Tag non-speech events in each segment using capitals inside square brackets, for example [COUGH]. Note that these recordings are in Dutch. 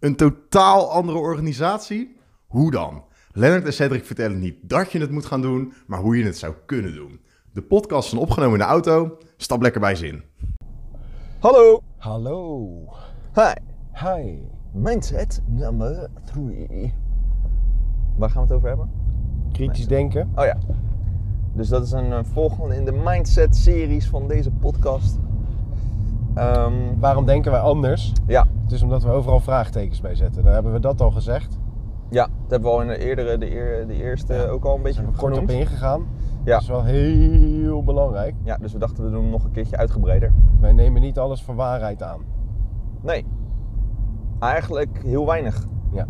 een totaal andere organisatie? Hoe dan? Lennart en Cedric vertellen niet dat je het moet gaan doen, maar hoe je het zou kunnen doen. De podcast is opgenomen in de auto. Stap lekker bij zin. Hallo. Hallo. Hi. Hi. Mindset nummer 3. Waar gaan we het over hebben? Kritisch denken. Oh ja. Dus dat is een eh, volgende in de mindset series van deze podcast. Ehm, Waarom denken wij anders? ja, Het is omdat we overal vraagtekens bij zetten. Dan hebben we dat al gezegd. ja, dat hebben we al in de eerdere, de, eer- de eerste Ja. ook al een beetje Daar zijn we kort op genoemd. ingegaan. Ja. Dat is wel heel belangrijk. Ja, dus we dachten we doen hem nog een keertje uitgebreider. Wij nemen niet alles voor waarheid aan. Nee, eigenlijk heel weinig. Ja.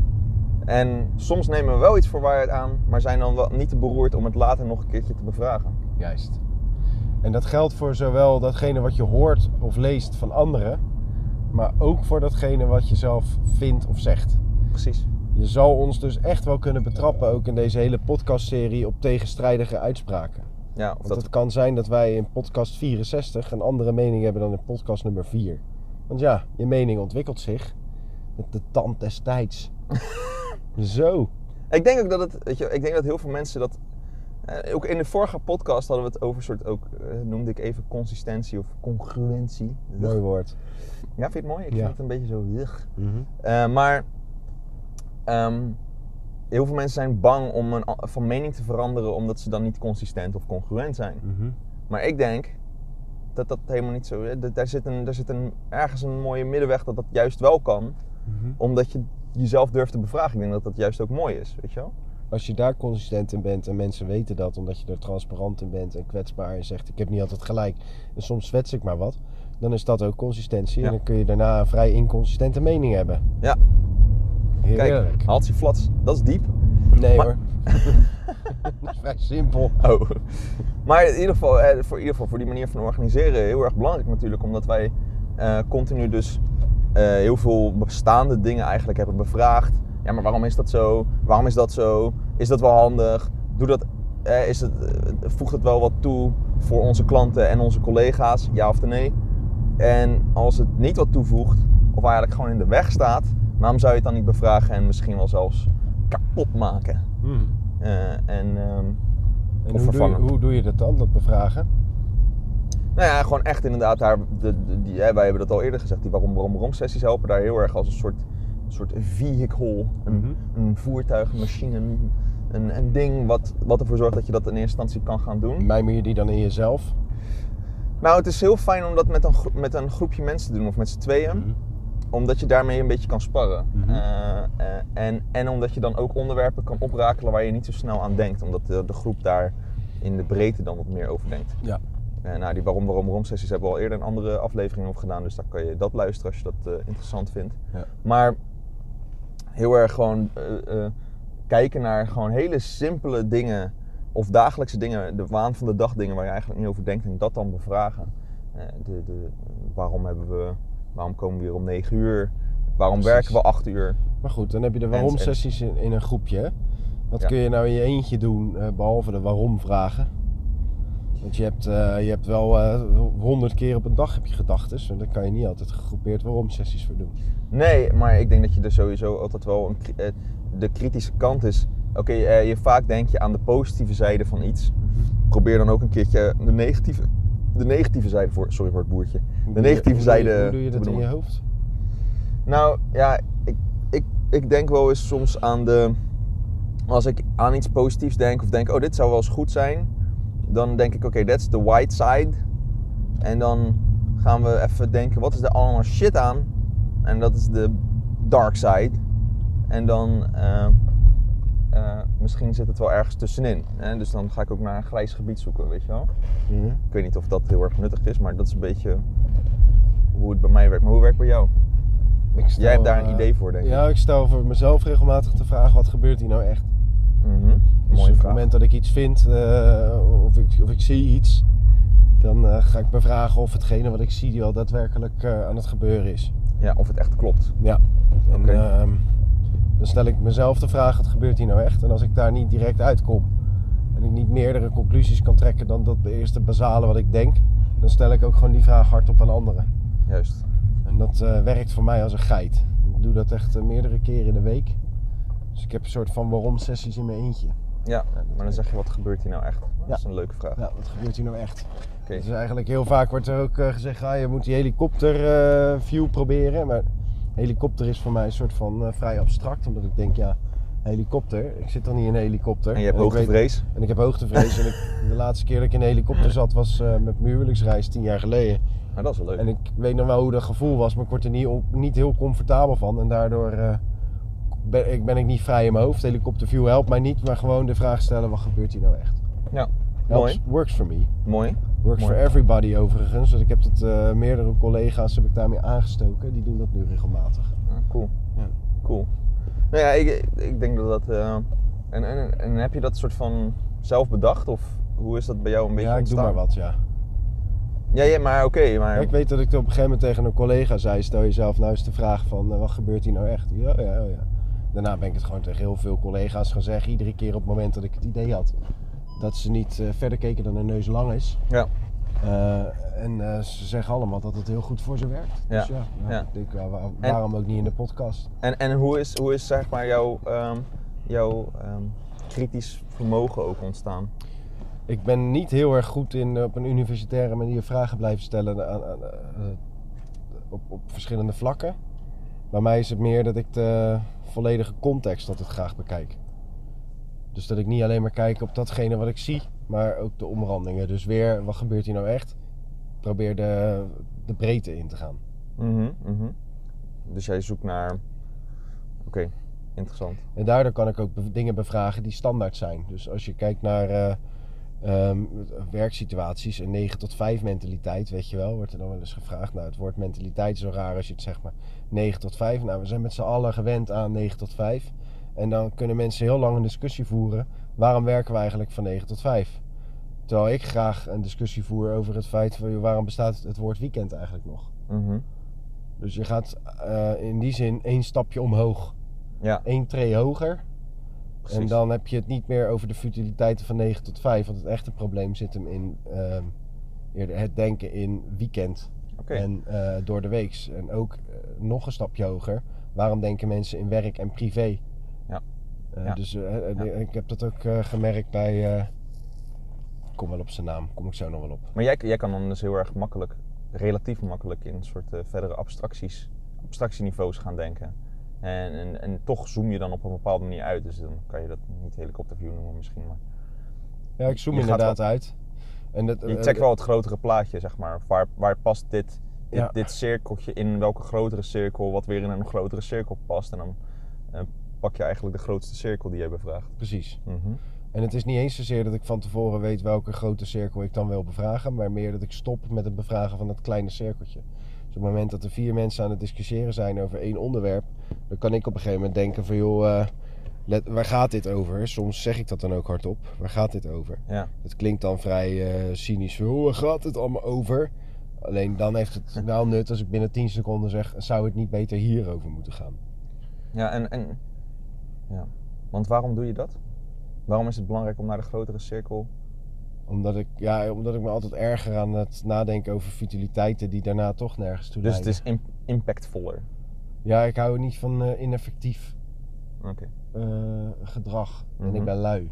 En soms nemen we wel iets voor waarheid aan, maar zijn dan wel niet te beroerd om het later nog een keertje te bevragen. Juist. En dat geldt voor zowel datgene wat je hoort of leest van anderen, maar ook voor datgene wat je zelf vindt of zegt. Precies. Je zal ons dus echt wel kunnen betrappen, ook in deze hele podcastserie, op tegenstrijdige uitspraken. Ja, of Want dat het kan zijn dat wij in podcast 64 een andere mening hebben dan in podcast nummer 4. Want ja, je mening ontwikkelt zich met de tand des [LAUGHS] tijds. Zo. Ik denk ook dat het, weet je, ik denk dat heel veel mensen dat. eh, ook in de vorige podcast hadden we het over soort ook, eh, noemde ik even consistentie of congruentie. Mooi woord. Ja, vind je het mooi? Ik Ja. vind het een beetje zo. ugh. Eh, maar ehm, heel veel mensen zijn bang om een, a- van mening te veranderen omdat ze dan niet consistent of congruent zijn. Mhm. Maar ik denk dat dat helemaal niet zo is. Daar zit, een, daar zit een, ergens een mooie middenweg dat dat juist wel kan, omdat je jezelf durft te bevragen. Ik denk dat dat juist ook mooi is, weet je wel? Als je daar consistent in bent en mensen weten dat omdat je er transparant in bent en kwetsbaar en zegt ik heb niet altijd gelijk en soms zwets ik maar wat, dan is dat ook consistentie Ja. en dan kun je daarna een vrij inconsistente mening hebben. Ja. Heerlijk. Kijk, Haltsie Flats, dat is diep. [LAUGHS] nee maar- hoor. [LAUGHS] dat is vrij simpel. Oh. Maar in ieder geval, eh, voor, in ieder geval voor die manier van organiseren heel erg belangrijk natuurlijk. Omdat wij eh, continu dus eh, heel veel bestaande dingen eigenlijk hebben bevraagd. Ja, maar waarom is dat zo? Waarom is dat zo? Is dat wel handig? Doe dat, eh, is het, eh, voegt het wel wat toe voor onze klanten en onze collega's? Ja of nee? En als het niet wat toevoegt, of eigenlijk gewoon in de weg staat, waarom zou je het dan niet bevragen en misschien wel zelfs kapot maken? Eh, en ehm, En Of hoe doe, je, vervangen. hoe doe je dat dan, dat bevragen? Nou ja, gewoon echt inderdaad daar. De, de- die, hè, wij hebben dat al eerder gezegd. Die waarom, waarom, waarom sessies helpen daar heel erg als een soort, soort vehicle. Een, Mhm. een voertuig, een machine, een, een, een ding wat, wat ervoor zorgt dat je dat in eerste instantie kan gaan doen. Mijmer je die dan in jezelf? Nou, het is heel fijn om dat met een, gro- met een groepje mensen te doen of met z'n tweeën. Omdat je daarmee een beetje kan sparren. Mhm. Eh, eh, en, en omdat je dan ook onderwerpen kan oprakelen waar je niet zo snel aan denkt. Omdat de, de groep daar in de breedte dan wat meer over denkt. Ja. Eh, nou, die waarom, waarom, waarom sessies hebben we al eerder een andere aflevering op gedaan. Dus daar kan je dat luisteren als je dat eh, interessant vindt. Ja. Maar heel erg gewoon eh, eh, kijken naar gewoon hele simpele dingen. Of dagelijkse dingen, de waan van de dag dingen waar je eigenlijk niet over denkt. En dat dan bevragen. Eh, de, de, waarom hebben we, waarom komen we hier om 9 uur? Waarom Precies. werken we 8 uur? Maar goed, dan heb je de waarom-sessies in, in een groepje. hè? Wat Ja. kun je nou in je eentje doen, eh, behalve de waarom-vragen? Want je hebt, eh, je hebt wel honderd keer op een dag heb je gedachten. En daar kan je niet altijd gegroepeerd waarom-sessies voor doen. Nee, maar ik denk dat je er sowieso altijd wel een, kri- eh, de kritische kant is. Oké, eh, je vaak denk je aan de positieve zijde van iets. Probeer dan ook een keertje de negatieve, de negatieve zijde voor. Sorry voor het boertje. Hoe De doe je- negatieve hoe doe je- zijde. Hoe doe je te dat in je benoemen. hoofd? Nou ja, ik, ik, ik denk wel eens soms aan de. Als ik aan iets positiefs denk of denk, oh dit zou wel eens goed zijn, dan denk ik, oké, that's the white side. En dan gaan we even denken, wat is er allemaal shit aan? En dat is de dark side. En dan eh, eh, misschien zit het wel ergens tussenin. Hè? Dus dan ga ik ook naar een grijs gebied zoeken, weet je wel. Ik weet niet of dat heel erg nuttig is, maar dat is een beetje hoe het bij mij werkt. Maar hoe werkt het bij jou? Ik stel, Jij hebt daar een eh, idee voor, denk ik. Ja, ik stel voor mezelf regelmatig de vraag, wat gebeurt hier nou echt? Mhm. Dus Mooie op het vraag. moment dat ik iets vind eh, of, ik, of ik zie iets, dan eh, ga ik me vragen of hetgene wat ik zie wel daadwerkelijk eh, aan het gebeuren is. Ja, of het echt klopt. Ja. En Oké. ehm, dan stel ik mezelf de vraag, wat gebeurt hier nou echt? En als ik daar niet direct uitkom en ik niet meerdere conclusies kan trekken dan dat de eerste basale wat ik denk, dan stel ik ook gewoon die vraag hardop aan anderen. Juist. En dat eh, werkt voor mij als een geit. Ik doe dat echt eh, meerdere keren in de week. Dus ik heb een soort van waarom sessies in mijn eentje. Ja, maar dan werkt. zeg je wat gebeurt hier nou echt? Dat Ja. is een leuke vraag. Ja, wat gebeurt hier nou echt? Oké. Dus eigenlijk heel vaak wordt er ook eh, gezegd, ah, je moet die helikopterview view proberen. Maar helikopter is voor mij een soort van eh, vrij abstract. Omdat ik denk, ja, helikopter, ik zit dan niet in een helikopter. En je hebt ik weet- hoogtevrees? En ik heb hoogtevrees. en ik, de laatste keer dat ik in een helikopter zat was eh, met mijn huwelijksreis tien jaar geleden. Nou, dat is wel leuk. En ik weet nog wel hoe dat gevoel was, maar ik word er niet, op- niet heel comfortabel van. En daardoor eh, ben, ik, ben ik niet vrij in mijn hoofd. Helikopterview helpt mij niet, maar gewoon de vraag stellen, wat gebeurt hier nou echt? Ja, Helps- Nou, mooi. Works for me. Mooi. Works Mooi. for everybody overigens. Want ik heb dat eh, meerdere collega's heb ik daarmee aangestoken. Die doen dat nu regelmatig. Ja, cool. Ja. Cool. Nou ja, ik, ik denk dat dat... eh, en, en, en heb je dat soort van zelf bedacht? Of hoe is dat bij jou een beetje ja, ik ontstaan? doe maar wat, ja. Ja, ja maar oké. maar... Ja, ik weet dat ik op een gegeven moment tegen een collega zei: stel jezelf nou eens de vraag van eh, wat gebeurt hier nou echt? Ja, ja, oh ja. Daarna ben ik het gewoon tegen heel veel collega's gaan zeggen, iedere keer op het moment dat ik het idee had dat ze niet eh, verder keken dan hun neus lang is. Ja. Eh, en eh, ze zeggen allemaal dat het heel goed voor ze werkt. Dus Ja, ja, nou, ja. ik denk, ja, waar- waarom ook niet in de podcast? En, en hoe, is, hoe is zeg maar jouw, ehm, jouw ehm, kritisch vermogen ook ontstaan? Ik ben niet heel erg goed in eh, op een universitaire manier vragen blijven stellen aan, aan, eh, op, op verschillende vlakken. Bij mij is het meer dat ik de volledige context altijd graag bekijk. Dus dat ik niet alleen maar kijk op datgene wat ik zie, maar ook de omrandingen. Dus weer, wat gebeurt hier nou echt? Ik Probeer de, de breedte in te gaan. Mhm, mhm. Dus jij zoekt naar... Oké, interessant. En daardoor kan ik ook be- dingen bevragen die standaard zijn. Dus als je kijkt naar eh, ehm, werksituaties, een 9 tot 5 mentaliteit, weet je wel, wordt er dan wel eens gevraagd. Nou, het woord mentaliteit is zo raar als je het zegt maar 9 tot 5. Nou, we zijn met z'n allen gewend aan 9 tot 5. En dan kunnen mensen heel lang een discussie voeren. Waarom werken we eigenlijk van 9 tot 5? Terwijl ik graag een discussie voer over het feit van joh, waarom bestaat het woord weekend eigenlijk nog? Mhm. Dus je gaat eh, in die zin één stapje omhoog, Ja, één tree hoger. precies. En dan heb je het niet meer over de futiliteiten van 9 tot 5. Want het echte probleem zit hem in ehm, eerder het denken in weekend Oké, en eh, door de weeks. En ook eh, nog een stapje hoger. Waarom denken mensen in werk en privé? Ja. Eh, Ja. Dus eh, eh, Ja. ik heb dat ook eh, gemerkt bij. eh, ik kom wel op zijn naam, kom ik zo nog wel op. maar jij, jij kan dan dus heel erg makkelijk, relatief makkelijk, in soort eh, verdere abstracties, abstractieniveaus gaan denken. En, en, en toch zoom je dan op een bepaalde manier uit. Dus dan kan je dat niet helikopterview noemen misschien, maar Ja, ik zoom Je gaat inderdaad uit. En dat, je eh, checkt wel het grotere plaatje, zeg maar. Waar, waar past dit, dit, Ja. dit cirkeltje in welke grotere cirkel, wat weer in een grotere cirkel past. En dan eh, pak je eigenlijk de grootste cirkel die je bevraagt. Precies. Mhm. En het is niet eens zozeer dat ik van tevoren weet welke grote cirkel ik dan wil bevragen, maar meer dat ik stop met het bevragen van dat kleine cirkeltje. Dus op het moment dat er vier mensen aan het discussiëren zijn over één onderwerp, dan kan ik op een gegeven moment denken van joh, eh, let, waar gaat dit over? Soms zeg ik dat dan ook hardop. Waar gaat dit over? Ja. Dat klinkt dan vrij eh, cynisch. van, Oh, waar gaat het allemaal over? Alleen dan heeft het wel nut als ik binnen 10 seconden zeg, zou het niet beter hierover moeten gaan? Ja, en, en ja. want waarom doe je dat? Waarom is het belangrijk om naar de grotere cirkel? Omdat ik, ja, omdat ik me altijd erger aan het nadenken over futiliteiten die daarna toch nergens toe Dus het leiden. is im- impactvoller. Ja, ik hou niet van eh, ineffectief Oké. eh, gedrag. En Mhm. ik ben lui.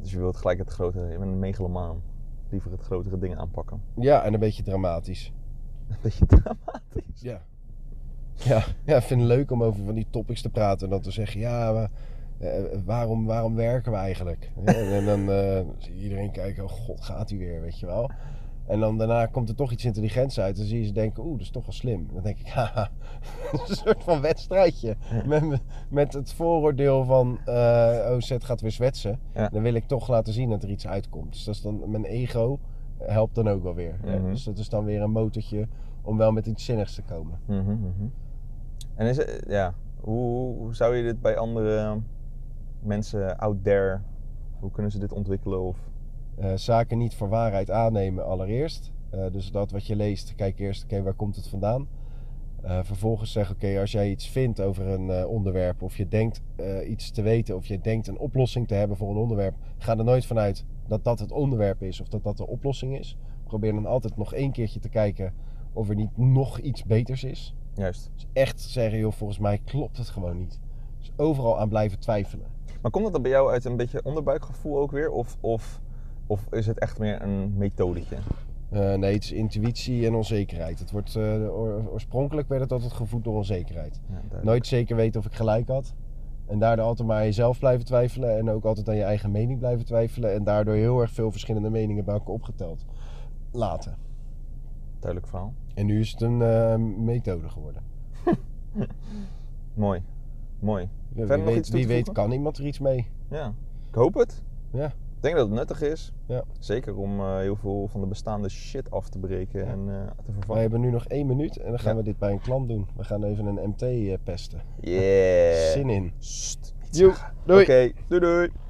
Dus je wilt gelijk het grotere, je bent een megalomaan. Liever het grotere ding aanpakken. [LAUGHS] Ja, en een beetje dramatisch. Een beetje dramatisch. Ja. Ja, ja ik vind het leuk om over van die topics te praten. En dan te zeggen, ja, maar, eh, waarom, waarom werken we eigenlijk? Ja, en, dan eh, zie je iedereen kijken, oh god, gaat hij weer, weet je wel. En dan daarna komt er toch iets intelligents uit. Dan zie je ze denken, oeh, dat is toch wel slim. Dan denk ik, [LAUGHS] haha, dat is een soort van wedstrijdje. Met, met het vooroordeel van, eh OZ gaat weer zwetsen. Ja. Dan wil ik toch laten zien dat er iets uitkomt. Dus dat is dan, mijn ego helpt dan ook wel weer. hè. Mhm. Dus dat is dan weer een motortje om wel met iets zinnigs te komen. Mhm, mhm. En is het, ja, hoe, hoe zou je dit bij andere mensen out there, hoe kunnen ze dit ontwikkelen? Of, Eh, zaken niet voor waarheid aannemen allereerst. Eh, dus dat wat je leest, kijk eerst, oké, waar komt het vandaan? Eh, vervolgens zeg, oké, als jij iets vindt over een eh, onderwerp... of je denkt eh, iets te weten of je denkt een oplossing te hebben voor een onderwerp... ga er nooit vanuit dat dat het onderwerp is of dat dat de oplossing is. Probeer dan altijd nog één keertje te kijken of er niet nog iets beters is. Juist. Dus echt zeggen, joh, volgens mij klopt het gewoon niet. Dus overal aan blijven twijfelen. Maar komt dat dan bij jou uit een beetje onderbuikgevoel ook weer? Of, of, of is het echt meer een methodetje? Eh, nee, het is intuïtie en onzekerheid. Het wordt, eh, oor- oorspronkelijk werd het altijd gevoed door onzekerheid. Ja, duidelijk. Nooit zeker weten of ik gelijk had. En daardoor altijd maar aan jezelf blijven twijfelen. En ook altijd aan je eigen mening blijven twijfelen. En daardoor heel erg veel verschillende meningen bij elkaar opgeteld laten. Duidelijk verhaal. En nu is het een eh, methode geworden. Mooi. Mooi. Wie nog weet, iets toe wie te weet voegen? kan iemand er iets mee. Ja. Ik hoop het. Ja. Ik denk dat het nuttig is. Ja. Zeker om eh, heel veel van de bestaande shit af te breken en eh, te We vervangen. hebben nu nog één minuut en dan gaan Ja. we dit bij een klant doen. We gaan even een MT eh, pesten. Yeah. Zin in. Sst, niet Joe, zeggen. doei. Oké, doei doei.